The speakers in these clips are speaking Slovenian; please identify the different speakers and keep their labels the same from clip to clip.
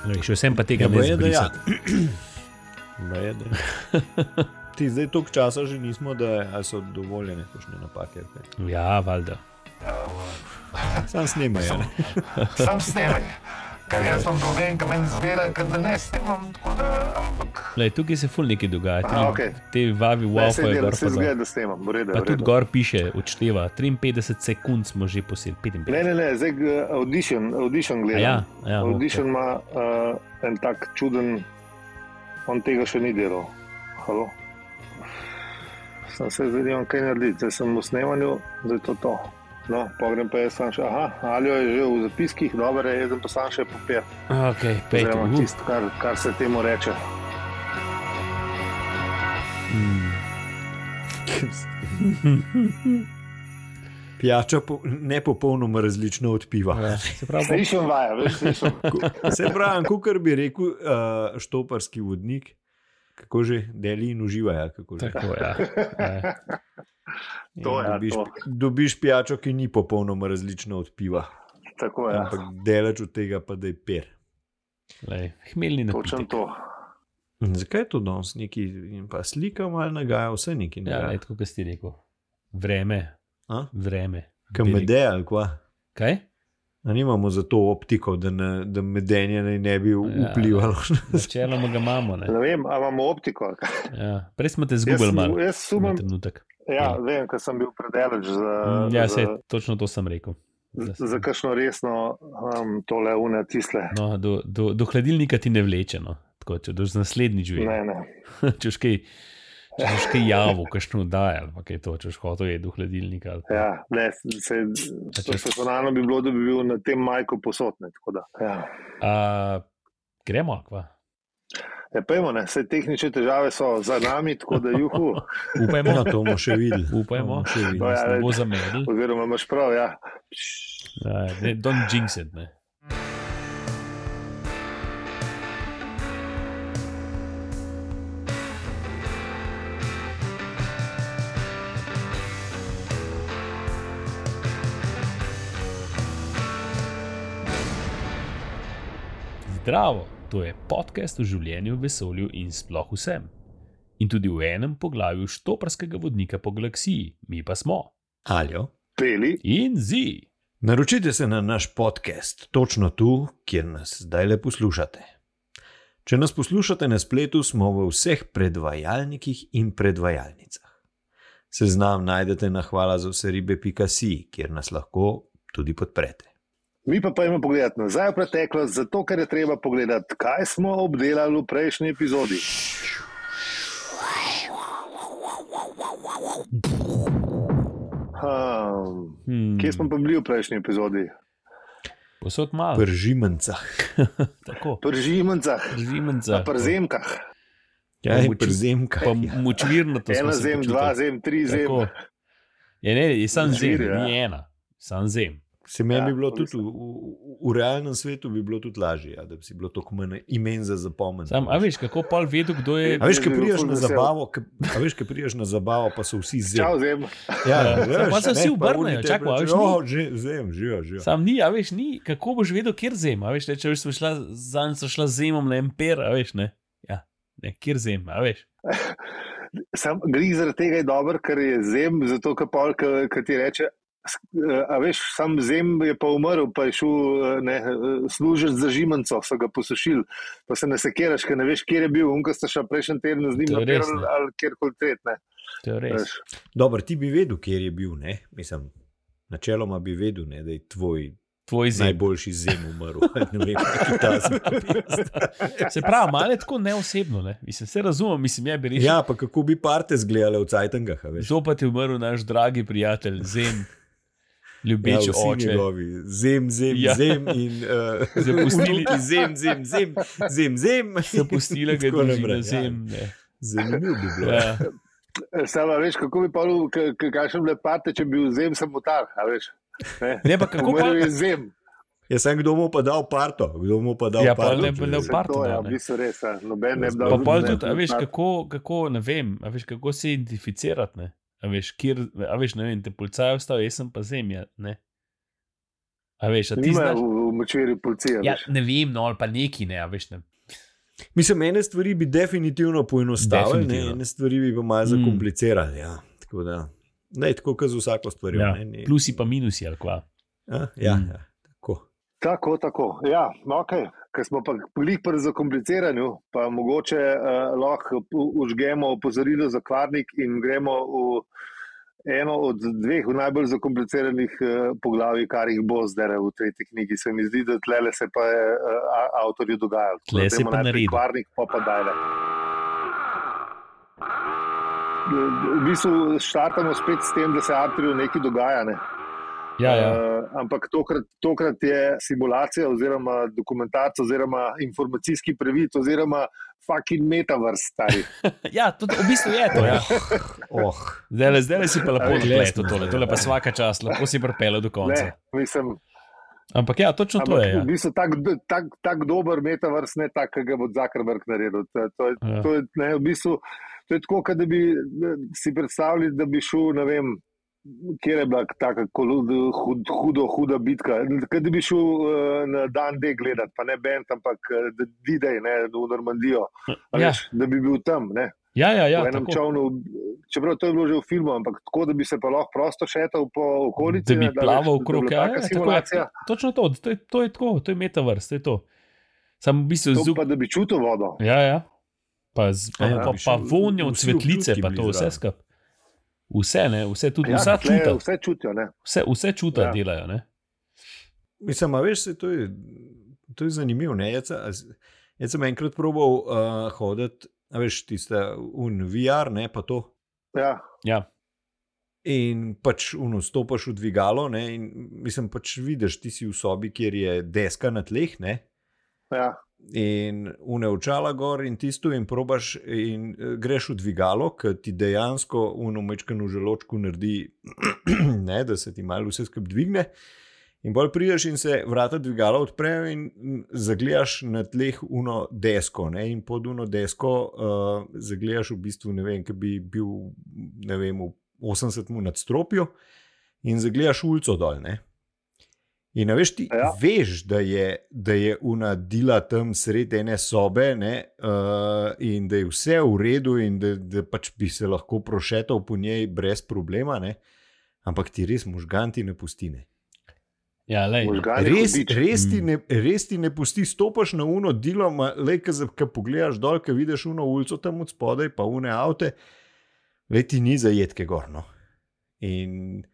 Speaker 1: Veš, vsem pa tega
Speaker 2: Ja,
Speaker 1: ne
Speaker 2: baje, da
Speaker 1: moreš.
Speaker 2: ja. Baje, da ja. Ti zdaj toliko časa že nismo, da je- ali so dovoljene kakšne napake. ali kaj?
Speaker 1: Ja, valjda.
Speaker 2: Sam snemaj. a ne?
Speaker 3: Sam snemaj, ker jaz sem dolžen, ki meni zbira, ker da ne snemam. tako Da, ampak,
Speaker 1: Lej, tukaj se ful nekaj dogaja. Ti,
Speaker 3: Aha, okej.
Speaker 1: Te vavi v
Speaker 3: ne, se
Speaker 1: avto je
Speaker 3: dela,
Speaker 1: gor.
Speaker 3: se
Speaker 1: pa
Speaker 3: zgleda,
Speaker 1: dol.
Speaker 3: da snemam, v redu. je,
Speaker 1: Pa
Speaker 3: v
Speaker 1: tudi
Speaker 3: redu.
Speaker 1: gor piše, odšteva 53 sekund smo že posebej,
Speaker 3: Ne,
Speaker 1: 55.
Speaker 3: ne, ne, zdaj eh, audition, audition
Speaker 1: A
Speaker 3: gledam.
Speaker 1: Ja, a ja,
Speaker 3: audition ima okay. uh, en tak čuden, on tega še ni delal. Halo? Sem se videl, kaj narediti, zdaj sem v snemanju, zdaj je to to. No, pogrem pa jaz sam še, aha, ali je že v zapiskih, dobro, je, jaz sem pa sam še papir.
Speaker 1: Okay, pej,
Speaker 3: Oziroma, tisto, kar, kar se temu reče.
Speaker 1: mm,
Speaker 2: Pijača po, ne popolnoma različna od piva.
Speaker 1: ja, se pravi,
Speaker 3: Slišim vaja, veš, slišim.
Speaker 2: Se pravi, kot bi rekel, uh, štoparski vodnik, kako že deli in uživa. Ja, kako že.
Speaker 1: tako ja. ja.
Speaker 2: In
Speaker 3: to je
Speaker 2: dobiš,
Speaker 3: to.
Speaker 2: dobiš pijačo, ki ni popolnoma različna od piva,
Speaker 3: Tako je,
Speaker 2: ja. ampak delač od tega pa da je per.
Speaker 1: Lej, hmelni
Speaker 3: točno
Speaker 1: napitek.
Speaker 3: to.
Speaker 2: In Mhm. zakaj je to danes neki, in pa slika malo nagaja, vse neki
Speaker 1: Ja, lej,
Speaker 2: nagaja.
Speaker 1: tako kot si rekel. Vreme,
Speaker 2: Ja,
Speaker 1: vreme. Velik.
Speaker 2: Kamede ali kva.
Speaker 1: Kaj?
Speaker 2: A nimamo za to optiko, da, ne, da medenje naj ne
Speaker 1: Ja,
Speaker 2: bi vplivalo.
Speaker 1: Načeloma ga imamo. ne.
Speaker 3: Ne vem, ali imamo optiko. ali kaj?
Speaker 1: Ja. Prej smo te
Speaker 3: Jaz,
Speaker 1: zgubili malo.
Speaker 3: jaz
Speaker 1: na
Speaker 3: sumem,
Speaker 1: trenutek.
Speaker 3: ja, vem, ker sem bil predelač za,
Speaker 1: Mm, Ja, se,
Speaker 3: za,
Speaker 1: točno to sem rekel. da se-
Speaker 3: za kakšno resno um, tole une tisle.
Speaker 1: No, do, do, do hladilnika ti ne vleče, no. tako da do naslednjič veš.
Speaker 3: Ne, ne.
Speaker 1: če boš kaj, če boš kaj javo, kakšno daje ali pa kaj to, če boš hotel je do hladilnika. ali pa-
Speaker 3: Ja, ne se,
Speaker 1: A če-
Speaker 3: profesionalno bi bilo, da bi bil na tem majku posotne. Ja.
Speaker 1: A, gremo, ali kva.
Speaker 3: Ja, pejmo, ne, se tehnične težave so za nami, tako da juhu.
Speaker 2: Upajmo, da bomo še videli.
Speaker 1: Upajmo,
Speaker 2: Bomo še videli.
Speaker 3: No, ja,
Speaker 1: da se ne bo
Speaker 3: lej.
Speaker 1: zamedel.
Speaker 3: Oziroma, imaš prav, ja.
Speaker 1: Ja, Ne, don't jinx it. Ne. Zdravo, to je podcast o življenju, vesolju in sploh vsem. In tudi v enem poglavju štoprskega vodnika po galaksiji, mi pa smo.
Speaker 2: Aljo.
Speaker 3: Peli,
Speaker 1: In zi!
Speaker 2: Naročite se na naš podcast, točno tu, kjer nas zdaj le poslušate. Če nas poslušate na spletu, smo v vseh predvajalnikih in predvajalnicah. Seznam najdete na hvala za vse ribe.si, kjer nas lahko tudi podprete.
Speaker 3: Mi pa pojmo pogled nazaj v preteklost, zato ker je treba pogledati, kaj smo obdelali v prejšnji epizodi. Um,
Speaker 1: Hmm.
Speaker 3: kje smo pa bili v prejšnji epizodi?
Speaker 1: Posod malo, Pr...
Speaker 2: Pržimenca.
Speaker 1: tako.
Speaker 3: Pri žimencah,
Speaker 1: Zimnica.
Speaker 3: na przemkah.
Speaker 2: Ja,
Speaker 1: Moči-
Speaker 2: przemka.
Speaker 1: Pa močvirno to
Speaker 3: Ena zem, dva zem, tri zem.
Speaker 1: Tako. Je, ne, je sam zem,
Speaker 3: Močvirje, ja.
Speaker 1: ni ena, sam zem.
Speaker 2: Se meni
Speaker 3: Ja,
Speaker 2: bi bilo
Speaker 3: to
Speaker 2: tudi v,
Speaker 3: mislim.
Speaker 2: v, v realnem svetu bi bilo tudi lažje, ja, da bi si bilo tako manj imen za zapomniti.
Speaker 1: Sam, a veš, kako pol vedo, kdo je.
Speaker 2: A veš,
Speaker 3: Jaz
Speaker 2: ki
Speaker 3: bi bil
Speaker 2: priješ
Speaker 3: ful
Speaker 2: na
Speaker 3: vesel.
Speaker 2: zabavo, ke, a veš, ki priješ na zabavo, pa so vsi
Speaker 3: Čau,
Speaker 2: zelo.
Speaker 3: zem.
Speaker 1: Ja, samo pa se vsi obrnejo, čakaj, a veš, ni."
Speaker 2: že zem, živijo, živijo.
Speaker 1: Sam ni, a veš, ni, kako boš vedel, kjer zem. A veš, ne, če veš, so šla, zanj so šla zemom na emper, a veš, ne. Ja, ne, kjer zem, a veš.
Speaker 3: Sam glih zaradi tega je dober, ker je zem, zato ker pol, ker, ker ti reče, s- eh, a veš, sam zem je pa umrl, pa je šel eh, ne, eh, služiti za žimanco, so ga posušili, pa se ne sekeraš, ker ne veš, kje je bil, unka sta še prejšnji teden z njim
Speaker 1: To je res,
Speaker 3: naperal
Speaker 1: ne.
Speaker 3: ali kjerkoli tretne.
Speaker 1: To je res.
Speaker 2: Dobro, ti bi vedel, kjer je bil, ne? Mislim, načeloma bi vedel, ne, da je tvoj
Speaker 1: Tvoj
Speaker 2: zem.
Speaker 1: zem.
Speaker 2: najboljši zem umrl. ne vem, kaj ta zem.
Speaker 1: Se pravi, malo je tako neosebno, ne. Mislim, se razumem, mislim, ja bi rekel.
Speaker 2: Ja, pa kako bi parte zgledale v Cajtangah, a veš?
Speaker 1: Zopet je umrl naš dragi prijatelj, zem,
Speaker 2: Ja,
Speaker 1: ljubeč ja,
Speaker 2: vsi
Speaker 1: oče.
Speaker 2: njegovi, zem, zem,
Speaker 1: Ja.
Speaker 2: ja. zem in uh,
Speaker 1: Zapustili-
Speaker 2: zem, zem, zem, zem, zem.
Speaker 1: Zapustila ga je
Speaker 2: Tako
Speaker 1: družina
Speaker 2: naprej,
Speaker 1: zem. ne.
Speaker 2: Ja. Zanimivo bi bilo. Ja.
Speaker 1: Ja.
Speaker 3: Sama Eh, veš, kako bi pa kakšen bile parte, če bi bil zem samotar, a veš. Ne,
Speaker 1: Ne, pa kako pa?
Speaker 3: umrl je zem,
Speaker 2: Ja, sem kdo mu pa dal parto, kdo mu pa dal
Speaker 1: Ja, pa
Speaker 2: parto.
Speaker 1: ne bi
Speaker 2: če-
Speaker 1: dal
Speaker 3: Saj
Speaker 1: Parto
Speaker 3: to je,
Speaker 1: dal,
Speaker 3: v
Speaker 1: ne.
Speaker 3: bistvu res, a, noben ne bi
Speaker 1: Pa
Speaker 3: dal.
Speaker 1: pol
Speaker 3: ne
Speaker 1: tudi, a
Speaker 3: bi
Speaker 1: veš,
Speaker 3: dal
Speaker 1: kako, kako, ne vem, a veš, kako se identificirati, ne. A veš, kjer, a veš, ne vem, te policajo vstav, jaz sem pa zemlja, ne. A veš, a ti
Speaker 3: Nimajo
Speaker 1: znaš?
Speaker 3: v, v močvirju policije.
Speaker 1: Ja,
Speaker 3: veš.
Speaker 1: ne vem, no ali pa neki ne, a veš. Ne.
Speaker 2: Mislim, ene stvari bi definitivno poenostavili,
Speaker 1: Definitivno.
Speaker 2: ne, ene stvari bi pa malo
Speaker 1: Mm.
Speaker 2: zakomplicirali. Ja. Tako da, ne, tako kot z vsako stvarjo.
Speaker 1: Ja,
Speaker 2: ne, ne.
Speaker 1: Plusi pa minusi, ali kva.
Speaker 2: A, ja,
Speaker 1: Mm.
Speaker 2: ja, tako.
Speaker 3: Tako, tako. Ja, okay. Ker smo pa bili pri zakompliciranju, pa mogoče eh, lahko u- užgemo opozorilo za kvarnik in gremo v eno od dveh najbolj zakompliciranih eh, poglavij, kar jih bo zdaj v tretji knjigi. Se mi zdi, da tle se pa je eh, a- avtorju dogajalo. Tako
Speaker 1: Tle
Speaker 3: da
Speaker 1: se
Speaker 3: dajmo
Speaker 1: pa
Speaker 3: najprej
Speaker 1: naredil.
Speaker 3: Kvarnik pa pa dajle. V bistvu štartamo spet s tem, da se avtorju nekaj dogaja. Ne?
Speaker 1: Ja, ja.
Speaker 3: Eh, ampak tokrat, tokrat je simulacija, oziroma dokumentacija, oziroma informacijski previd, oziroma fucking metaverse. stari.
Speaker 1: ja tudi, v bistvu je to. Ja.
Speaker 2: Oh,
Speaker 1: Zdaj, le- zdaj le si pa lepo
Speaker 2: Glej,
Speaker 1: zapletel
Speaker 2: smo.
Speaker 1: tole, tole pa vsaka čas, lepo si pripelal do konca.
Speaker 3: Ne, mislim,
Speaker 1: Ampak ja, točno to
Speaker 3: ampak
Speaker 1: je. Ja.
Speaker 3: v bistvu tak, tak, tak dober metaverse, ne tak, ki ga bo Zuckerberg naredil. To, to, je-
Speaker 1: Ja.
Speaker 3: to, je, ne, v bistvu, to je tako, kot da bi eh, si predstavljali, da bi šel, ne vem. Kjer je bila tako hud, hudo, huda bitka? Kaj bi šel eh, na dan D gledati, pa ne Bend, ampak eh, D-Day, ne v Normandijo. A
Speaker 1: Ja,
Speaker 3: Veš, da bi bil tam, ne,
Speaker 1: ja, ja, ja
Speaker 3: ja, v enem
Speaker 1: tako.
Speaker 3: čovnu. Čeprav to je bilo že v filmu, ampak tako, da bi se pa lahko prosto šetal po okolici.
Speaker 1: Da bi
Speaker 3: ne,
Speaker 1: plaval
Speaker 3: veš,
Speaker 1: okrog,
Speaker 3: da bi
Speaker 1: ja,
Speaker 3: bila taka
Speaker 1: ja, tako je.
Speaker 3: simulacija,
Speaker 1: Točno to, to je, to je tako, to je metaverse, to je to. Sam v bistvu
Speaker 3: to
Speaker 1: zub.
Speaker 3: pa da bi čutil vodo.
Speaker 1: Ja, ja. Pa, z, pa,
Speaker 2: Ja,
Speaker 1: ja,
Speaker 2: ja,
Speaker 1: pa,
Speaker 2: bi
Speaker 1: pa
Speaker 2: še
Speaker 1: vonja od
Speaker 2: vsi
Speaker 1: svetlice,
Speaker 2: občutki
Speaker 1: pa
Speaker 2: bili
Speaker 1: to vse
Speaker 2: zraven.
Speaker 1: skupaj. Vse, ne, vse tudi,
Speaker 3: Ja,
Speaker 1: vsa
Speaker 3: tle
Speaker 1: čuta,
Speaker 3: vse čutijo. Ne.
Speaker 1: vse, vse čuta ja.
Speaker 3: Ja.
Speaker 1: delajo. Ne?
Speaker 2: Mislim, a veš, saj to je, to je zanimivo. ne, Jaz, sem- a s- jaz sem enkrat probal uh, hoditi, a veš, tiste un VR, ne pa to.
Speaker 3: Ja,
Speaker 1: Ja,
Speaker 2: In pač uno, stopiš v dvigalo, ne, in mislim, pač vidiš, ti si v sobi, kjer je deska na tleh, ne,
Speaker 3: ja.
Speaker 2: in uneučala gor in tisto, in probaš, in eh, greš v dvigalo, ki ti dejansko unomečkan v želočku naredi, ne, da se ti malo vse skupaj dvigne. In bolj prideš in se vrata dvigala odprejo, in mm, zagledaš na tleh uno desko. Ne, in pod uno desko uh, zagledaš v bistvu, ne vem, ki bi bil ne vem, v 80 mu nadstropju, in zagledaš ulico dol. Ne. In a veš, ti ja.
Speaker 3: Ja.
Speaker 2: veš, da je, da je unadila tam sredi ene sobe, ne, uh, in da je vse v redu, in da, da pač bi se lahko prošetal po njej brez problema. Ne. Ampak ti res možgan ti ne pustine.
Speaker 1: ja lej, no.
Speaker 3: Možgani
Speaker 2: Res,
Speaker 3: hudič.
Speaker 2: res, ti
Speaker 1: Mm.
Speaker 2: ne, res ti ne pusti, stopiš na uno delo, le ki pogledaš dol, ki vidiš uno ulico tam od spodaj, pa une avte, le ti ni zajetke gorno. no. In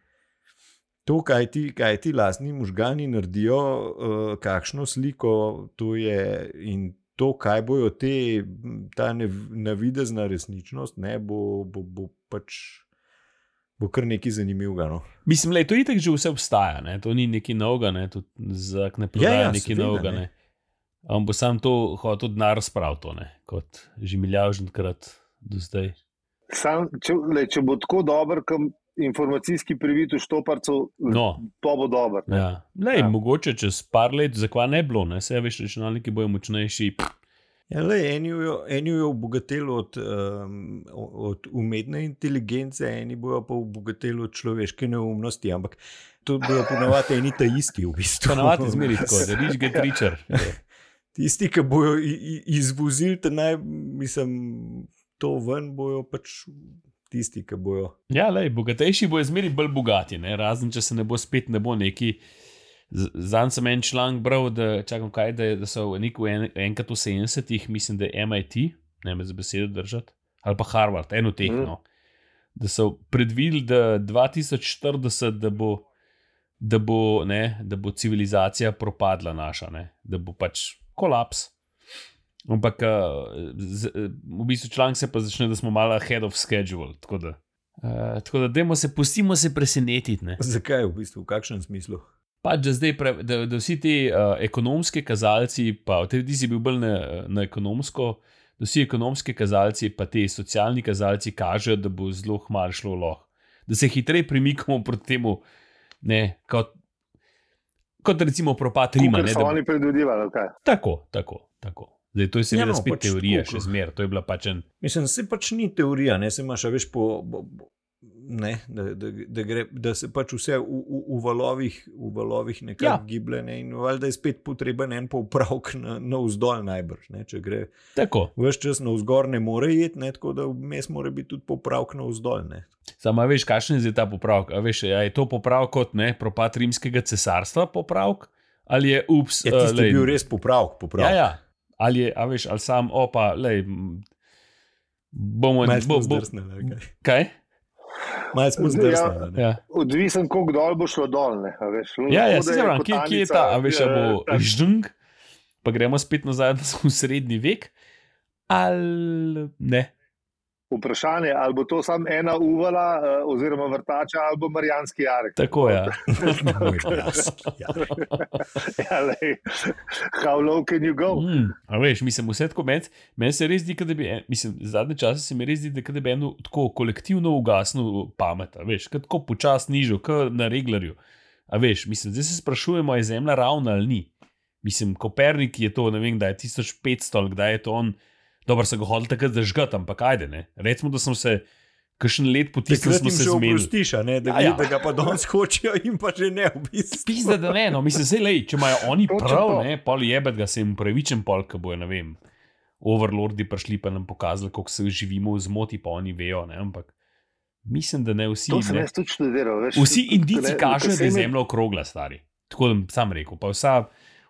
Speaker 2: to, kaj ti, kaj ti lastni možgani naredijo, eh, kakšno sliko to je in to, kaj bojo te, m, ta nev- navidezna resničnost, ne, bo, bo, bo pač. Bo kar nekaj zanimivega. No.
Speaker 1: Mislim, da to itek že vse obstaja, ne? to ni neki novega, ne? tudi za ne
Speaker 2: Ja,
Speaker 1: prodaja
Speaker 2: ja,
Speaker 1: neki
Speaker 2: seveda,
Speaker 1: novega.
Speaker 2: ne.
Speaker 1: Ne? On bo sam to hotel denar spraviti, to, ne, kot že milijardenkrat do zdaj.
Speaker 3: Sam, če, le, če bo tako dober, kot informacijski privit v Štoparcu,
Speaker 1: No,
Speaker 3: to bo dober. ne.
Speaker 1: ja. Lej, ja.
Speaker 3: Ja.
Speaker 1: Mogoče čez par let, zakaj ne bilo, ne? vse več računalniki bojo močnejši. Pff,
Speaker 2: Ja, lej, eni jo- eni jo je obogatili od, um, od umetne inteligence, eni bojo pa obogatili od človeške neumnosti, ampak to bojo ponovadi eni ta isti, v bistvu.
Speaker 1: Ponavadi zmeri tako, da riš ga tričer.
Speaker 2: Tisti, ki bojo i- i- izvozili te naj, mislim, to ven, bojo pač tisti, ki bojo.
Speaker 1: Ja, lej, bogatejši bojo zmeri bolj bogati, ne? razen če se ne bo spet ne bo neki. Zanj sem en članek bral, da, čakam, kaj, da, je- da so v neku en, enkrat v 70-ih, mislim, da je MIT, ne me za besedo držati, ali pa Harvard, eno teh. Mm.
Speaker 3: Mhm.
Speaker 1: No, da so predvideli, da 2040, da bo, da bo, ne, da bo civilizacija propadla naša, ne? da bo pač kolaps. Ampak eh, z- eh, v bistvu članek se pa začne, da smo malo ahead of schedule. Tako da, uh, tako da dajmo se, pustimo se presenetiti. ne.
Speaker 2: Zakaj v bistvu, v kakšnem smislu?
Speaker 1: Pač, da, zdaj pre, da, da vsi ti uh, ekonomski kazalci, pa te, ti si bil bolj na, na ekonomsko, da vsi ekonomski kazalci, pa ti socialni kazalci kažejo, da bo zelo hmar šlo lahko. Da se hitreje premikamo proti temu, ne, kot, kot recimo propad Rima.
Speaker 3: Kakor
Speaker 1: ne,
Speaker 3: so
Speaker 1: da-
Speaker 3: oni predvidevali. kaj.
Speaker 1: Tako, tako, tako. Zdaj, to je seveda
Speaker 2: Ja,
Speaker 1: ja,
Speaker 2: no,
Speaker 1: no, spet
Speaker 2: pač
Speaker 1: pač teorija,
Speaker 2: tako,
Speaker 1: še
Speaker 2: ko-
Speaker 1: zmeraj. To je bila pač en.
Speaker 2: Mislim, se pač ni teorija, ne se imaš, a veš, po, po, Ne, da, da, da, gre, da se pač vse v, v, v valovih, v valovih nekako
Speaker 1: Ja.
Speaker 2: ja. giblje, ne? in valjda je spet potreben en popravek na, na vzdolj, najbrž. Ne? Če gre
Speaker 1: Tako,
Speaker 2: vse čas na vzgor, ne more iti, ne? tako da vmes mora biti tudi popravek na vzdolj. Ne?
Speaker 1: samo a veš, kakšen je zdaj ta popravek. A veš, a je to popravek kot ne, propad rimskega cesarstva popravek, ali je ups,
Speaker 2: Je Ja, tisti
Speaker 1: Eh, lej,
Speaker 2: bil res popravek,
Speaker 1: Ja,
Speaker 2: popravek.
Speaker 1: ja. Ali je, a veš, ali sam opa, lej, m, bomo
Speaker 2: Malo smo
Speaker 1: bo- bo-
Speaker 2: zdrsnili, ali kaj?
Speaker 1: Kaj?
Speaker 2: Malo smo
Speaker 3: Ja.
Speaker 2: zdrsnili. ne.
Speaker 1: Ja.
Speaker 3: Odvisen, koliko dol bo šlo dol. Ne, a veš,
Speaker 1: Ja, ja
Speaker 3: Lahko,
Speaker 1: se
Speaker 3: da je
Speaker 1: zavedam, kje, kje je ta, a veš, a
Speaker 3: eh,
Speaker 1: bo
Speaker 2: ja,
Speaker 3: tak,
Speaker 1: ždung, pa gremo spet nazaj v srednji vek, ali ne.
Speaker 3: Vprašanje, ali bo to samo ena uvala, eh, oziroma vrtača, ali bo Marijanski jarek.
Speaker 1: Tako je. Ja.
Speaker 2: Moj glas, ja.
Speaker 3: Ja, lej, How low can you go?
Speaker 1: Mm, a veš, mislim, vse tako meni, meni se res zdi, kot da bi, en- mislim, zadnje čase se mi res zdi, da kot da bi eno tako kolektivno ugasnil pamet, a veš, kot tako počasno nižjo, kot na reglerju. A veš, mislim, zdaj se sprašujemo, je zemlja ravna ali ni. Mislim, Kopernik je to, ne vem, da je 1500 ali kdaj je to on, dobro se ga hodil takrat zažgat, ampak ajde, ne. Recimo, da sem se kakšen let po tistem
Speaker 2: Takrat
Speaker 1: smo
Speaker 2: jim
Speaker 1: se
Speaker 2: še
Speaker 1: zmenili.
Speaker 2: oprostiš, a ne, da,
Speaker 1: Ja,
Speaker 2: ja,
Speaker 1: ja.
Speaker 2: ja. da ga pa danes hočejo in pa že ne v bistvu.
Speaker 1: Pizda, da ne, no, mislim, se le, če imajo oni
Speaker 3: Točno
Speaker 1: prav,
Speaker 3: to.
Speaker 1: ne, pol jebet ga se jim pravičen, pol, ki bojo, ne vem, overlordi prišli pa nam pokazali, kako se živimo v zmoti, pa oni vejo, ne, ampak mislim, da ne vsi.
Speaker 3: To sem
Speaker 1: Ne.
Speaker 3: jaz tudi študiral. Veš,
Speaker 1: Vsi
Speaker 3: ko- ko
Speaker 1: indici
Speaker 3: ne- ko
Speaker 1: kažejo,
Speaker 3: se
Speaker 1: da je
Speaker 3: mi-
Speaker 1: zemlja okrogla, stari. Tako da sam rekel, pa vsa,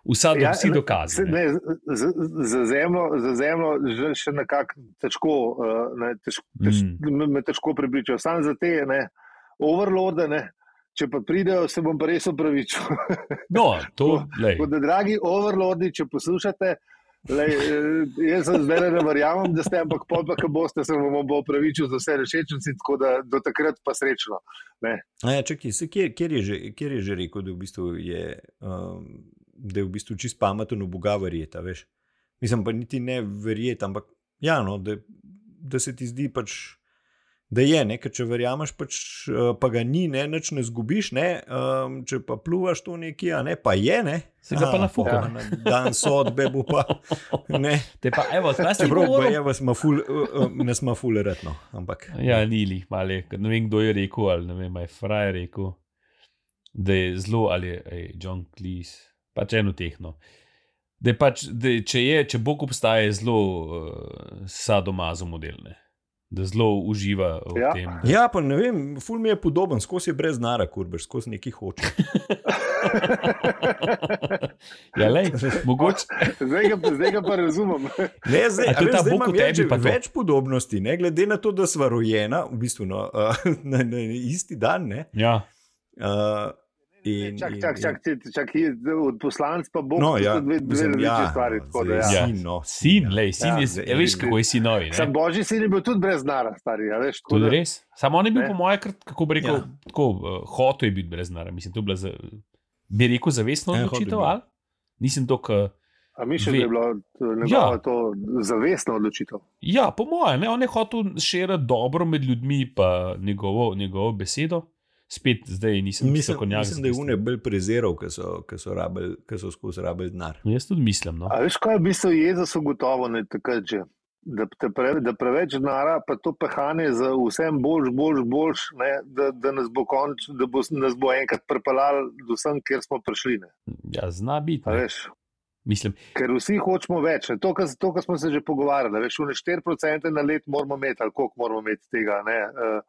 Speaker 1: vsa do,
Speaker 3: Ja,
Speaker 1: ja, vsi
Speaker 3: ne,
Speaker 1: dokazi.
Speaker 3: se-
Speaker 1: Ne.
Speaker 3: ne, z- z- Za zemljo, za zemljo že še nekako težko, eh, ne, težko, tež,
Speaker 1: Mm.
Speaker 3: me- me težko pripričajo. Sam za te ne, overlorde, ne, če pa pridejo, se bom pa res opravičil.
Speaker 1: No, to, lej,
Speaker 3: Tako da, dragi overlordi, če poslušate, lej, eh, jaz sem zdaj ne verjamem, da ste, ampak pol pa, ko boste, se vam bo opravičil za vse rešečnici, tako da do takrat pa srečno.
Speaker 2: A ja, čakaj, se, kjer, kjer, je že, kjer je že rekel, da, v bistvu je, um, da je v bistvu čist pameten, v Boga verjeta. Veš? Mislim pa niti ne verjeti, ampak ja, no, da, da se ti zdi pač. Da je, ne, ker če verjameš, pač, eh, pa ga ni, ne, nič ne zgubiš, ne, um, če pa pluvaš to nekje, a ne, pa je, ne.
Speaker 1: Se ga pa
Speaker 2: A,
Speaker 1: nafuka.
Speaker 3: ja.
Speaker 2: pa na Dan sodbe bo pa, ne,
Speaker 1: te pa, evo, kaj ste
Speaker 2: Čeprav pa
Speaker 1: govorili?
Speaker 2: je, vas ima ful, uh, uh, nas ima ful retno, ampak.
Speaker 1: Ja, ni jih malo, je, ne vem kdo je rekel, ali ne vem, ali je Frajer rekel, da je zelo ali je ej, John Cleese, pač eno tehno. Da je pač, da je, če, je, če Bog obstaja, je zelo uh, sadomazo modelne, da zelo uživa v
Speaker 3: Ja.
Speaker 1: tem. Da,
Speaker 2: Ja, pa ne vem, ful mi je podoben, skozi je brez nara, kurbež, skozi neki hoče.
Speaker 1: ja, lej, mogoče.
Speaker 3: Zdaj ga, pa- zdaj ga pa razumem.
Speaker 2: Ne, zdaj,
Speaker 1: A
Speaker 2: a
Speaker 1: to je ta
Speaker 2: veš, zdaj
Speaker 1: Bog
Speaker 2: imam
Speaker 1: v
Speaker 2: jaz
Speaker 1: tebi
Speaker 2: že
Speaker 1: pa to?
Speaker 2: več podobnosti, ne glede na to, da sva rojena, v bistvu no, uh, na, na, na isti dan. Ne,
Speaker 1: Ja,
Speaker 2: uh, in,
Speaker 3: Čak,
Speaker 2: in-
Speaker 3: čak,
Speaker 2: in-
Speaker 3: čak, čak, čak, od poslanca pa bo
Speaker 2: No,
Speaker 3: to
Speaker 2: ja,
Speaker 3: sta dve, dve
Speaker 2: mislim,
Speaker 3: različne
Speaker 2: ja,
Speaker 3: stvari. tako da,
Speaker 2: zdaj
Speaker 3: Ja.
Speaker 1: Ja.
Speaker 2: Sin, no,
Speaker 1: sin, lej, sin
Speaker 3: Ja,
Speaker 1: ja, je,
Speaker 2: zdaj-
Speaker 1: zdaj, veš, kako je sinovi.
Speaker 3: Sam božji sin je bil tudi brez nara, stari. a Veš, tako
Speaker 1: Tudi
Speaker 3: da-
Speaker 1: res. Samo on je bil,
Speaker 3: Ne.
Speaker 1: po mojem, kako bi rekel,
Speaker 2: Ja.
Speaker 1: ja. tako, uh, hotel je biti brez nara. Mislim, to je bila, za, bi rekel, zavestna
Speaker 2: Ja, hotel je
Speaker 1: odločitev.
Speaker 2: bil.
Speaker 1: ali? Nisem tako. Uh,
Speaker 3: A misliš, da
Speaker 1: Ve.
Speaker 3: je bila to njegova
Speaker 1: Ja.
Speaker 3: to zavestna odločitev?
Speaker 1: ja, po mojem, ne, on je hotel širiti dobro med ljudmi, pa njegovo, njegovo besedo. Spet zdaj nisem
Speaker 2: Mislim,
Speaker 1: strokovnjak za
Speaker 2: mislim, da je
Speaker 1: tisto.
Speaker 2: Une bolj preziral, ker so, ker so, rabel, ker so skozi rabel denar.
Speaker 1: Jaz tudi mislim. No.
Speaker 3: A veš, kaj je v bistvu Jezus ugotovil, ne takrat že. Da, te pre, da preveč denara, pa to pehanje za vsem boljš, boljš, boljš, ne, da, da, nas bo konč, da bo nas bo enkrat prepeljal do sem, kjer smo prišli. Ne,
Speaker 1: Ja, zna biti.
Speaker 3: A
Speaker 1: Ne.
Speaker 3: veš,
Speaker 1: Mislim,
Speaker 3: ker vsi hočemo več. Ne. To, kar to, kar smo se že pogovarjali, ne, veš, v 4% na let moramo imeti, ali koliko moramo imeti tega. Ne, uh,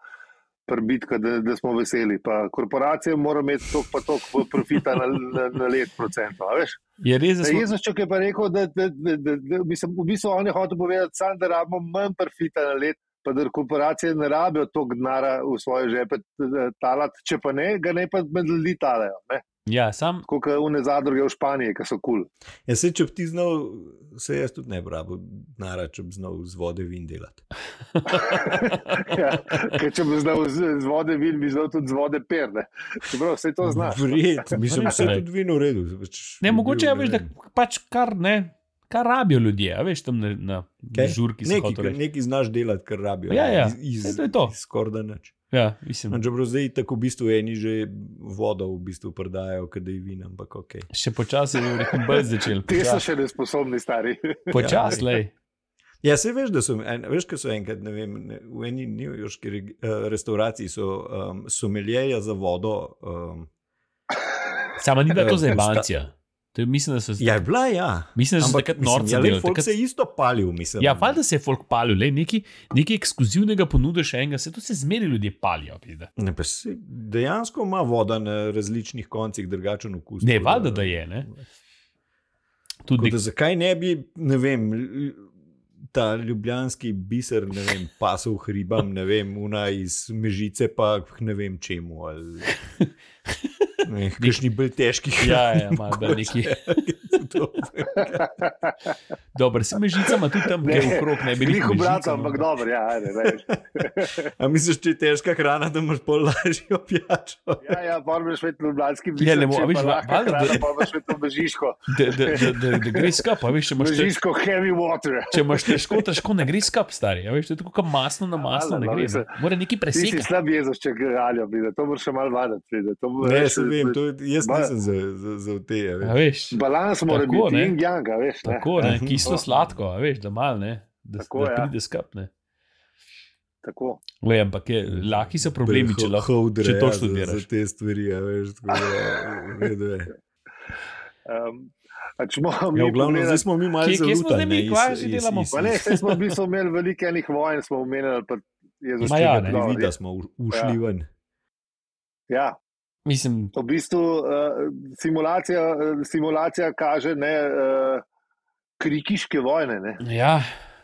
Speaker 3: Prbitka, da, da smo veseli. Pa korporacije morajo imeti toliko, pa toliko profita na, na, na let, procentov. a veš.
Speaker 1: je res, da
Speaker 3: Da,
Speaker 1: smo.
Speaker 3: Jezus čak je pa rekel, da, da, da, da, da mislim, v bistvu on je hotel povedati, sam, da rabimo manj profita na let, pa da korporacije ne rabijo toliko denarja v svoje žepe eh, talat, če pa ne, ga ne pa med ljudi talajo. ne.
Speaker 1: Ja, sam,
Speaker 3: Tako kot une zadruge v Španiji, ki so kul. Cool.
Speaker 2: Ja, se, če bi ti znal, se jaz tudi ne bi rabil denara, če bi znal z vode vin delati.
Speaker 3: Ja, ker če bi znal z z vode vin, bi znal tudi z vode perne. Čeprav vse to znaš. no.
Speaker 2: Vred, mislim, vse
Speaker 1: Vred.
Speaker 2: je tudi vino v redu. Pač
Speaker 1: ne,
Speaker 2: bi
Speaker 1: mogoče
Speaker 2: bil,
Speaker 1: je,
Speaker 2: ne
Speaker 1: veš, da
Speaker 2: vem,
Speaker 1: pač kar ne. Kar rabijo ljudje, a veš tam na, na
Speaker 2: kaj?
Speaker 1: žurki, se
Speaker 2: nekaj,
Speaker 1: hoče reči.
Speaker 2: nekaj znaš delati, kar rabijo.
Speaker 1: Ja,
Speaker 2: ne,
Speaker 1: ja,
Speaker 2: iz,
Speaker 1: saj
Speaker 2: iz,
Speaker 1: to je to.
Speaker 2: Iz skorda nič.
Speaker 1: Ja, mislim.
Speaker 2: No, Čeprav zdaj tako v bistvu eni že vodo v bistvu prodajajo, kaj da je vin, ampak ok.
Speaker 1: Še počasi je rekel, brez začel. Ja,
Speaker 3: Te so
Speaker 1: Počasi,
Speaker 3: še nesposobni, stari.
Speaker 1: počas, lej.
Speaker 2: Ja, se veš, da so, en, veš, kaj so enkrat, ne vem, ne- v eni newyorški reg- eh, restauraciji so um, someljeja za vodo. Um,
Speaker 1: Sama ni bila to
Speaker 2: Ja,
Speaker 1: za Evancija. To je, mislim, da so
Speaker 2: ja, je bila, ja.
Speaker 1: Mislim, da so takrat norca
Speaker 2: ja,
Speaker 1: delali,
Speaker 2: lej, folk
Speaker 1: takrat-
Speaker 2: se je isto palil, mislim.
Speaker 1: Ja, valjda se je folk palil, le nekaj, nekaj ekskluzivnega ponude še enega, se to se zmeri ljudje palijo. pizda.
Speaker 2: Ne, pa se, dejansko ima voda na različnih koncih drugačen okus.
Speaker 1: Ne,
Speaker 2: tako
Speaker 1: valjda, da je, ne.
Speaker 2: Tako
Speaker 1: Tudi
Speaker 2: Da, zakaj ne bi, ne vem, l- ta ljubljanski biser, ne vem, pasov hribam, ne vem, una iz mežice, pa k ne vem čemu. Ali, ne, vem, kakšni bolj težki
Speaker 1: Ja, ja,
Speaker 2: hrani,
Speaker 1: ima, da
Speaker 2: mogoče.
Speaker 1: neki-
Speaker 2: To-
Speaker 1: dobro, se mežicama tudi tam gre okrog, ne bi
Speaker 3: Veliko
Speaker 1: rekel. no.
Speaker 3: bratov, ampak dobro, ja, ajde, daj.
Speaker 2: A misliš, če je težka hrana, da imaš pol lažjo pijačo?
Speaker 3: Ja, ja, pa moraš imeti ljubljanski
Speaker 1: Ja, ne
Speaker 3: biznis,
Speaker 1: mo- a
Speaker 3: če
Speaker 1: veš,
Speaker 3: pa
Speaker 1: va-
Speaker 3: lahko
Speaker 1: valjda, da-
Speaker 3: hrana, pa moraš imeti to bežiško,
Speaker 1: Da, da, da, da, da gre skup, a veš, če imaš, te,
Speaker 3: bežiško heavy water.
Speaker 1: če imaš težko, težko ne gre skup, stari. A veš, to je tako kot masno na masno,
Speaker 3: valjda,
Speaker 1: ne
Speaker 3: no,
Speaker 1: gre.
Speaker 3: mislim,
Speaker 1: Mora neki
Speaker 3: Ti si
Speaker 1: presekati.
Speaker 3: slab jezošček, ali pa to moraš še malo vaditi. pride, to bo-
Speaker 2: Ne,
Speaker 3: veš,
Speaker 2: se vem, to, jaz
Speaker 3: Ma-
Speaker 2: nisem za, za, za te. a veš.
Speaker 1: A veš,
Speaker 3: Balans mora
Speaker 1: Tako,
Speaker 3: biti
Speaker 1: ne.
Speaker 3: in janga, veš. ne.
Speaker 1: tako, ne,
Speaker 2: Mhm.
Speaker 1: kislo sladko, a veš, da mal, ne, da,
Speaker 3: Tako,
Speaker 1: da
Speaker 3: ja.
Speaker 1: pride skup, ne.
Speaker 3: Tako.
Speaker 1: Le, ampak je, laki so problemi, če lahko.
Speaker 2: hodre,
Speaker 1: če to
Speaker 2: ja,
Speaker 1: študiraš.
Speaker 2: Za, za te stvari, a veš, tako da. v redu je.
Speaker 3: Um, a če moramo
Speaker 2: Ja, v
Speaker 3: mi
Speaker 2: glavnem, zdaj
Speaker 3: pogledati-
Speaker 2: smo mi malo
Speaker 1: Kje- kje smo
Speaker 2: zalutani,
Speaker 1: zdaj mi?
Speaker 2: ne, iz-
Speaker 1: Kva že
Speaker 2: iz-
Speaker 1: delamo?
Speaker 2: iz-
Speaker 3: Pa ne, saj smo v bistvu imeli veliko enih vojn, smo omenjali. pa je
Speaker 2: iz
Speaker 1: Ma
Speaker 3: zaščitna
Speaker 1: ja,
Speaker 2: tega
Speaker 1: ne.
Speaker 3: plava,
Speaker 2: privida
Speaker 3: je-
Speaker 2: smo u- ušli
Speaker 3: Ja.
Speaker 2: ven.
Speaker 3: Ja,
Speaker 1: Mislim,
Speaker 3: v bistvu uh, simulacija, eh, simulacija kaže ne, uh, krikiške vojne. Ne.
Speaker 1: ja,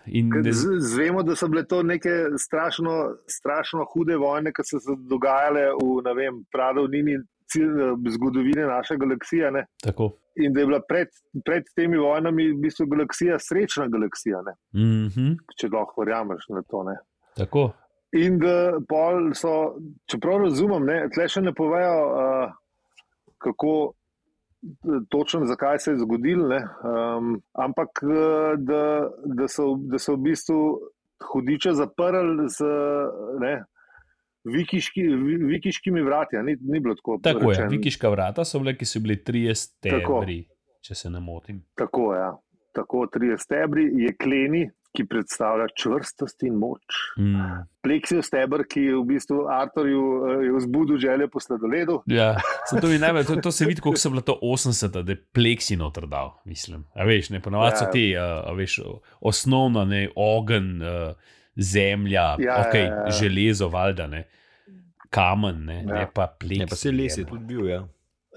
Speaker 1: in
Speaker 3: Ker
Speaker 1: da z-
Speaker 3: z- Zvemo, da so bile to neke strašno, strašno hude vojne, ki so se dogajale v ne vem, pradovnini cil- eh, zgodovine naše galaksije. Ne.
Speaker 1: tako.
Speaker 3: In da je bila pred, pred temi vojnami v bistvu galaksija srečna galaksija, ne.
Speaker 1: Mhm,
Speaker 3: če lahko verjameš na to. Ne.
Speaker 1: tako.
Speaker 3: In da pol so, čeprav razumem, ne, tle še ne povejo, uh, kako eh, točno zakaj se je zgodil, ne, um, ampak eh, da, da, so, da so v bistvu hudiče zaprli z ne, vikiški, vi, vikiškimi vrati. a Ni, ni bilo tako.
Speaker 1: Tako je,
Speaker 3: rečeno.
Speaker 1: vikiška vrata so bile, ki so bili 30
Speaker 3: Tako.
Speaker 1: stebri, če se ne motim.
Speaker 3: Tako, ja. tako tri stebri, jekleni, ki predstavlja čvrstost in moč.
Speaker 1: Mm.
Speaker 3: Pleksijo stebr, ki je v bistvu Artorju eh, je vzbudil želje po sladoledu.
Speaker 1: Ja, sem to mi najbolj, to, to se vidi, koliko so bila to 80, da je pleksi noter dal, mislim. A veš, ne ponovadi so
Speaker 3: Ja.
Speaker 1: ti, a, a veš, o- osnovna, ne, ogen, a, zemlja,
Speaker 3: Ja,
Speaker 1: ok,
Speaker 3: ja, ja.
Speaker 1: železo, valjda, ne, kamen, ne,
Speaker 3: Ja.
Speaker 1: ne pa pleksi.
Speaker 2: Ne, pa se les je
Speaker 1: jebe.
Speaker 2: tudi bil, ja.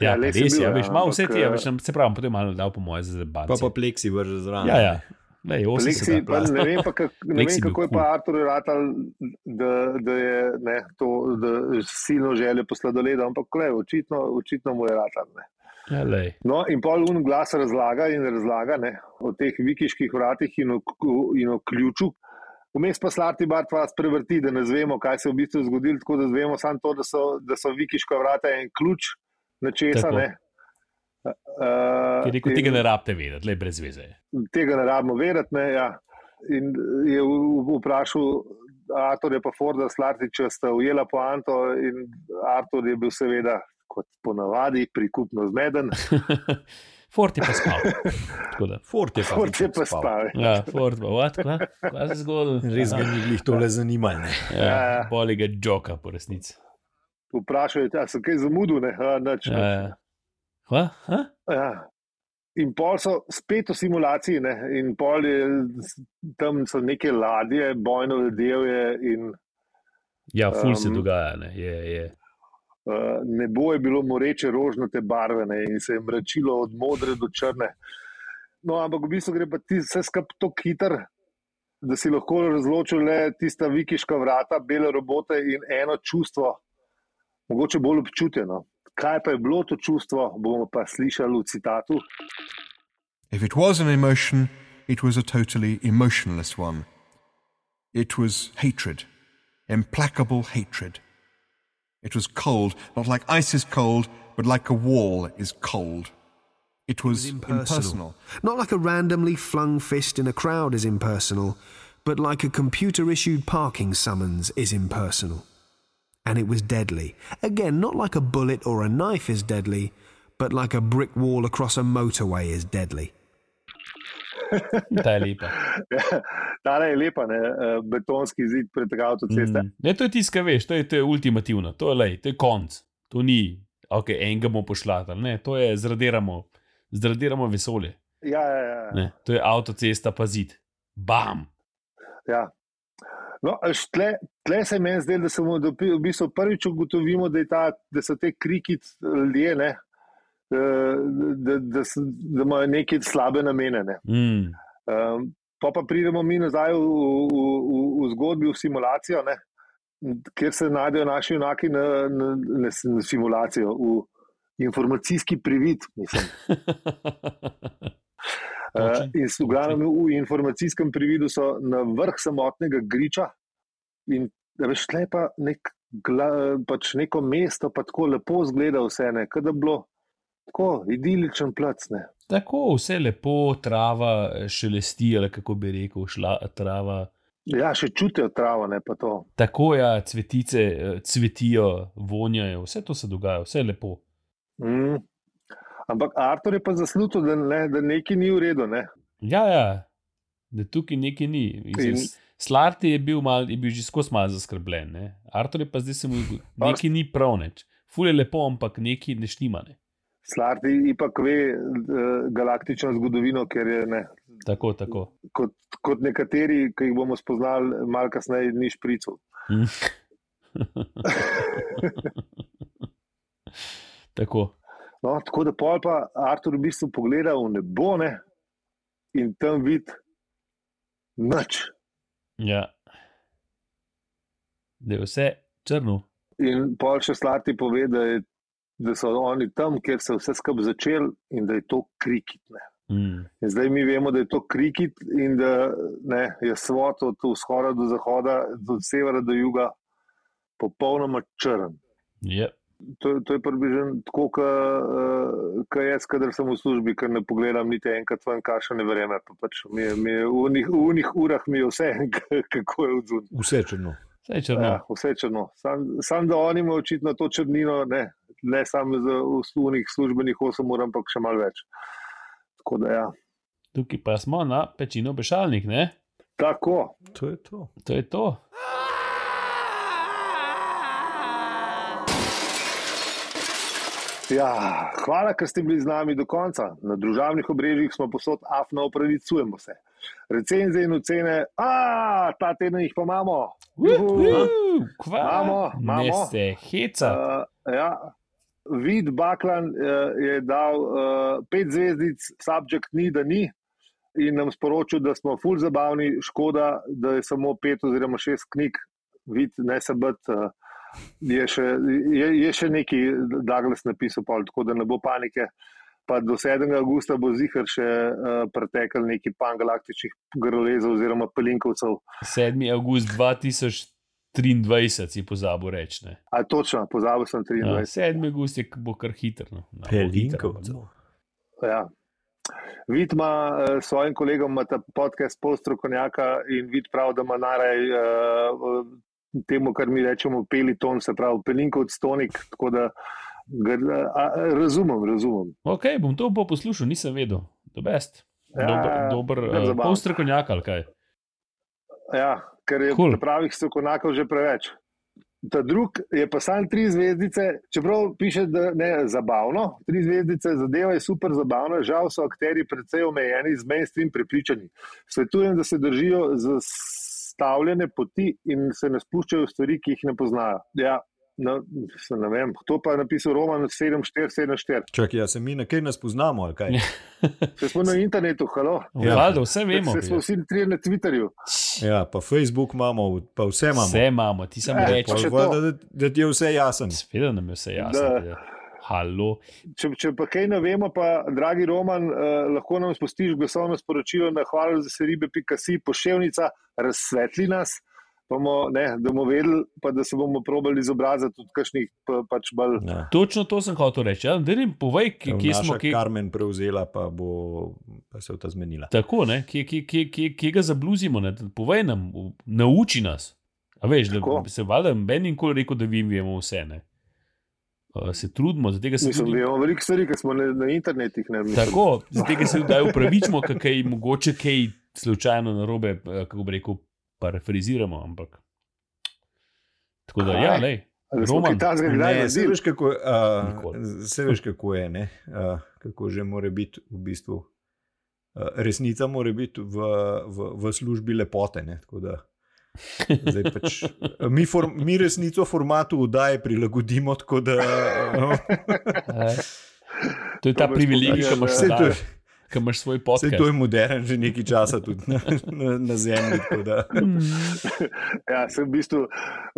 Speaker 1: Ja,
Speaker 3: Ja,
Speaker 1: pa
Speaker 3: les je
Speaker 1: res je,
Speaker 3: bil,
Speaker 1: ja,
Speaker 3: ja,
Speaker 1: veš, malo vse
Speaker 3: ampak,
Speaker 1: ti je,
Speaker 3: eh,
Speaker 1: veš, se pravi, potem malo dal po moje za
Speaker 2: Pa
Speaker 1: zabavanje.
Speaker 2: pa pleksi vrže zraven.
Speaker 1: Ja, ja. Lej, 80,
Speaker 3: Pleksi, pa, ne vem, pa, kak, ne
Speaker 1: Pleksi
Speaker 3: vem
Speaker 1: bil
Speaker 3: kako je
Speaker 1: kul.
Speaker 3: pa Artur Ratal, da, da je ne, to da silno želje po sladoledu, ampak le, očitno, očitno mu je Ratal. Ne.
Speaker 1: Ja, lej.
Speaker 3: No, in pol un glas razlaga in razlaga ne, o teh vikiških vratih in o, k- in o ključu. Vmes pa slati bart vas prevrti, da ne znamo, kaj se je v bistvu zgodilo, tako da znamo samo to, da so, da so vikiška vrata en ključ nečesa.
Speaker 1: Tako.
Speaker 3: Ne. Uh,
Speaker 1: Ki je rekel, tega ne rabite vedeti, le brez veze. je.
Speaker 3: tega ne rabimo vedeti. Ne, ja. In je v- v- vprašal Arturja pa Forda Slarti, če sta ujela poanto, in Artur je bil seveda, kot ponavadi, prikupno zmeden,
Speaker 1: Fort je pa spal. Tako da.
Speaker 2: Fort je pa,
Speaker 3: Ford je pa
Speaker 2: spal.
Speaker 3: spal.
Speaker 1: Ja, Fort pa vat, kva, kva se zgodil.
Speaker 2: Res ga ni glih tole zanimalo. ne.
Speaker 1: Ja, Boli ga joka, po resnici.
Speaker 3: Vprašal je, ali sem kaj zamudil, ne, a, nič,
Speaker 1: Ja,
Speaker 3: nič.
Speaker 1: ja. Kva? Ha?
Speaker 3: Ja. In pol so spet v simulaciji, ne? in pol je tam so neke ladje, bojno ledevje, in
Speaker 1: Ja, ful se
Speaker 3: Um,
Speaker 1: dogaja, ne. Je, je.
Speaker 3: Uh, nebo je bilo moreče rožnate barve ne, in se je mračilo od modre do črne. No, ampak v bistvu gre pa ti vse skupaj tako hiter, da si lahko razločil le tista vikiška vrata, bele robote in eno čustvo, mogoče bolj občuteno. Kaj pa je bilo to čustvo, bomo pa slišali v citatu.
Speaker 4: If it was an emotion, it was a totally emotionless one. It was hatred, implacable hatred. It was cold, not like ice is cold, but like a wall is cold. It was, impersonal.
Speaker 5: Not like a randomly flung fist in a crowd is impersonal, but like a computer issued parking summons is impersonal. And it was deadly. Again, not like a bullet or a knife is deadly, but like a brick wall across a motorway is deadly.
Speaker 1: Ta je lepa.
Speaker 3: Ja, Tale je lepa, ne? eh, betonski zid pred avtoceste. Mm.
Speaker 1: Mm. Ne, to je tiska, veš, to je, to je ultimativno, to je, lej, to je konc. To ni, ok, enega bomo pošlatali, ne, to je zradiramo, zradiramo vesolje.
Speaker 3: Ja, ja, ja.
Speaker 1: Ne, to je avtocesta, pa zid. Bam!
Speaker 3: Ja. No, a veš, tle, tle se meni zdelo, da se mu da v bistvu prvič ugotovimo, da, je ta, da so te kriki ljudje, ne, eh, da, da, s- da imajo neke slabe namene. Ne.
Speaker 1: Mm.
Speaker 3: Um, pa pa pridemo mi nazaj v, v, v, v zgodbi, v simulacijo, ne, kjer se najdejo naši junaki na, na, na, s- na simulacijo, v informacijski privid. Mislim.
Speaker 1: Točno,
Speaker 3: Eh, in s- v glavnem v informacijskem prividu so na vrh samotnega griča. In a veš, tle je pa nek, gla, pač neko mesto, pa tako lepo zgleda vse, ne, kot da bi bilo tako idiličen plac. Ne.
Speaker 1: Tako, vse lepo, trava eh, šelesti, ali kako bi rekel, šla trava.
Speaker 3: Ja, še čutijo travo, ne pa to.
Speaker 1: Tako je, cvetice eh, cvetijo, vonjajo, vse to se dogaja, vse je lepo.
Speaker 3: Mm. Ampak Artur je pa zaslužil, da, ne, da nekaj ni v redu. Ne.
Speaker 1: Ja, ja, da tukaj nekaj ni. Mislim,
Speaker 3: In-
Speaker 1: s- Slarti je bil, mal, je bil že skozi malo zaskrbljen, ne? Artur je pa zdaj se mu nekaj ni prav, neč. Ful je lepo, ampak nekaj ne štima. Ne?
Speaker 3: Slarti ipak ve eh, galaktično zgodovino, ker je ne,
Speaker 1: Tako, tako.
Speaker 3: kot, kot nekateri, ki jih bomo spoznali malo kasneje, ni špricov.
Speaker 1: tako.
Speaker 3: No, tako da pol pa Artur v bistvu pogleda v nebo ne? in tam vidi noč.
Speaker 1: Ja. Da je vse črno.
Speaker 3: In pol še slati pove, da, je, da so oni tam, kjer se je vse skupaj začel in da je to krikit. Ne?
Speaker 1: Mm.
Speaker 3: In zdaj mi vemo, da je to krikit in da ne, je svot od vzhoda do zahoda, od severa do juga, popolnoma črn.
Speaker 1: Yep.
Speaker 3: To, to je približno tako, kot jaz, kader sem v službi, ker ne pogledam niti enkrat ven, kakšne vreme. Pa pač mi je, mi je v, unih, v unih urah mi je vse, k- kako je odzun.
Speaker 2: Vse no. črno.
Speaker 1: Vse je črno.
Speaker 3: Ja, vse črno. Sam, sam da oni imajo očitno to črnino, ne, ne samo za unih službenih 8 ur, ampak še malo več. Tako da ja.
Speaker 1: Tukaj pa smo na pečino bešalnik, ne?
Speaker 3: Tako.
Speaker 2: To je to.
Speaker 1: To je to.
Speaker 3: Ja, hvala, ker ste bili z nami do konca. Na družbenih obrežjih smo posod afno upravičujemo se. Recenzije in ocene, a ta teden jih pa imamo. Juhu.
Speaker 1: Kva?
Speaker 3: Mamo,
Speaker 1: Ne
Speaker 3: mamo.
Speaker 1: se heca.
Speaker 3: Uh, ja. Vid Baklan uh, je dal uh, pet zvezdic, subjekt ni, da ni, in nam sporočil, da smo ful zabavni, škoda, da je samo pet oziroma šest knjig, vid ne se bat. Uh, je, še, je, je še neki Douglas napisal, pol, tako da ne bo panike. Pa do 7. augusta bo zihar še uh, pretekel neki pangalaktičnih grolezov oziroma pelinkovcev.
Speaker 1: 7. august 2023 si pozabil reči. ne?
Speaker 3: A točno, pozabil sem
Speaker 1: Ja,
Speaker 3: 23.
Speaker 1: 7. august je k- bo kar hitro. No. No, bo hitro,
Speaker 2: Pelinkovcev.
Speaker 1: ampak
Speaker 3: Ja. Vid ima eh, s svojim kolegom ima ta podcast Polstrokonjaka in vid prav, da ima naraj uh, temu, kar mi rečemo, peliton, se pravi pelinkovc, tonik. Tako da ga, a, a, razumem, razumem.
Speaker 1: bo. Ok, bom to bo poslušal, nisem vedel. Do best.
Speaker 3: Ja,
Speaker 1: Dober,
Speaker 3: ja,
Speaker 1: dober
Speaker 3: kar
Speaker 1: uh,
Speaker 3: zabavno.
Speaker 1: pol strokovnjak ali kaj.
Speaker 3: Ja, ker je
Speaker 1: Cool.
Speaker 3: cool. pravih strokovnjakov že preveč. Ta drug je pa sam tri zvezdice, čeprav piše, da ne zabavno. Tri zvezdice zadeva je super zabavna, žal so akteri precej omejeni, z mainstream prepričani. Svetujem, da se držijo zastavljene poti in se ne spuščajo v stvari, ki jih ne poznajo. Ja, no, mislim, ne vem. To pa je napisal Roman 7474.
Speaker 2: Čakaj, ja se mi na kaj nas poznamo, ali kaj?
Speaker 3: Se smo na internetu, halo.
Speaker 2: Ja.
Speaker 1: Ja. Valjda, vse vemo. ja.
Speaker 3: Se smo vsi trije na Twitterju.
Speaker 2: Ja, pa Facebook imamo, pa vse imamo.
Speaker 1: Vse imamo, ti samo
Speaker 3: Ja,
Speaker 1: reči.
Speaker 2: Pa
Speaker 3: še
Speaker 2: valjda, da, da ti je vse jasno.
Speaker 1: Sveda nam je vse jasno.
Speaker 3: Da.
Speaker 1: Da. Halo.
Speaker 3: Če, če pa kaj ne vemo, pa, dragi Roman, eh, lahko nam spustiš glasovno sporočilo na hvala za seribe.si, pošiljka, razsvetli nas, pa bomo, ne, da bomo vedeli, pa da se bomo probali izobraziti tudi kakšnih pa, pač bolj.
Speaker 2: Ja.
Speaker 1: Točno to sem hotel reči. Ja, da jim povej, kje, kje smo, kje,
Speaker 2: Karmen prevzela, pa, bo, pa se je ta zmenila.
Speaker 1: Tako, ne, kje, kje, kje, kje, kje ga zabluzimo, ne? povej nam, v- nauči nas. A veš,
Speaker 3: Tako.
Speaker 1: da se valjda Ben in kol rekel, da vi vemo vse. Ne? Uh, Se trudimo, zaradi tega se
Speaker 3: Mislim, da
Speaker 1: tudi,
Speaker 3: imamo veliko stvari, ki smo na, na internetu. Ne, mislim.
Speaker 1: tako, zaradi tega se tudi upravičimo, kaj je mogoče kaj slučajno na robe, kako bi rekel, parafriziramo. Ampak. Tako da, ja,
Speaker 3: Aj,
Speaker 1: lej.
Speaker 3: Ali smo
Speaker 1: Roman?
Speaker 3: kaj takega kdaj
Speaker 2: Ne, se
Speaker 3: naredili?
Speaker 2: veš, kako, uh,
Speaker 1: Nikoli.
Speaker 2: se veš, kako je, ne? uh, kako že mora biti v bistvu. Uh, resnica mora biti v, v, v službi lepote. ne, tako Da, zdaj pač, mi, form, mi resnico formatu vdaje prilagodimo, tako da
Speaker 1: Eh, To je ta
Speaker 3: boš
Speaker 1: privilegij, ki
Speaker 3: pokazal,
Speaker 1: imaš
Speaker 3: ja.
Speaker 2: vse to,
Speaker 1: sedaj,
Speaker 2: je-
Speaker 1: ki imaš svoj
Speaker 2: saj to
Speaker 1: podcast.
Speaker 2: je modern že nekaj časa tudi na, na, na zemlji. tako da.
Speaker 3: Ja, sem v bistvu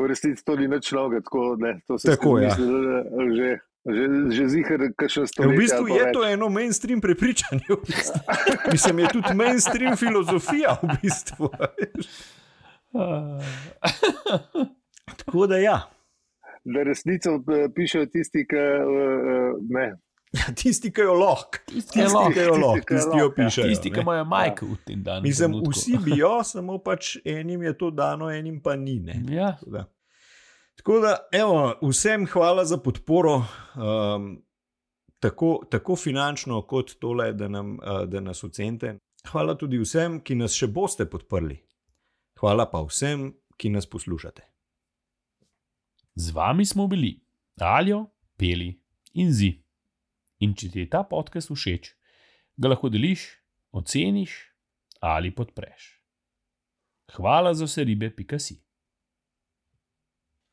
Speaker 3: v resnici to ni nič novega, tako ne. To se
Speaker 2: Tako, ja.
Speaker 3: že, že, že zihar, kakšen
Speaker 2: V
Speaker 3: stoletje.
Speaker 2: bistvu
Speaker 3: ali pa
Speaker 2: je
Speaker 3: več.
Speaker 2: to eno mainstream prepričanje. V bistvu. Mislim, je tudi mainstream filozofija v bistvu. Tako da ja.
Speaker 3: Da resnico eh, pišejo tisti, ki eh, eh, ne.
Speaker 2: Ja, tisti, ki jo lahko,
Speaker 1: Tisti,
Speaker 2: tisti,
Speaker 3: lahko.
Speaker 2: ki jo lahko,
Speaker 3: Tisti, ki
Speaker 2: tisti, ki
Speaker 3: jo
Speaker 2: jo
Speaker 3: lahko, ja.
Speaker 2: piše.
Speaker 1: Tisti, ki imajo majke v tem danu.
Speaker 2: Mislim, vsi bi jo, samo pač enim je to dano, enim pa ni. Ne.
Speaker 1: Ja,
Speaker 2: Tako da, tako da evo, vsem hvala za podporo, um, tako, tako finančno, kot tole, da, nam, uh, da nas ocenite. Hvala tudi vsem, ki nas še boste podprli. Hvala pa vsem, ki nas poslušate.
Speaker 1: Z vami smo bili Aljo, Peli in Zi. In če ti je ta podcast všeč, ga lahko deliš, oceniš ali podpreš. Hvala za vse ribe, pika si.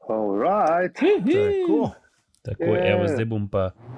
Speaker 3: All right.
Speaker 2: Tako.
Speaker 1: Tako je, evo,
Speaker 3: Ja.
Speaker 1: zdaj bom pa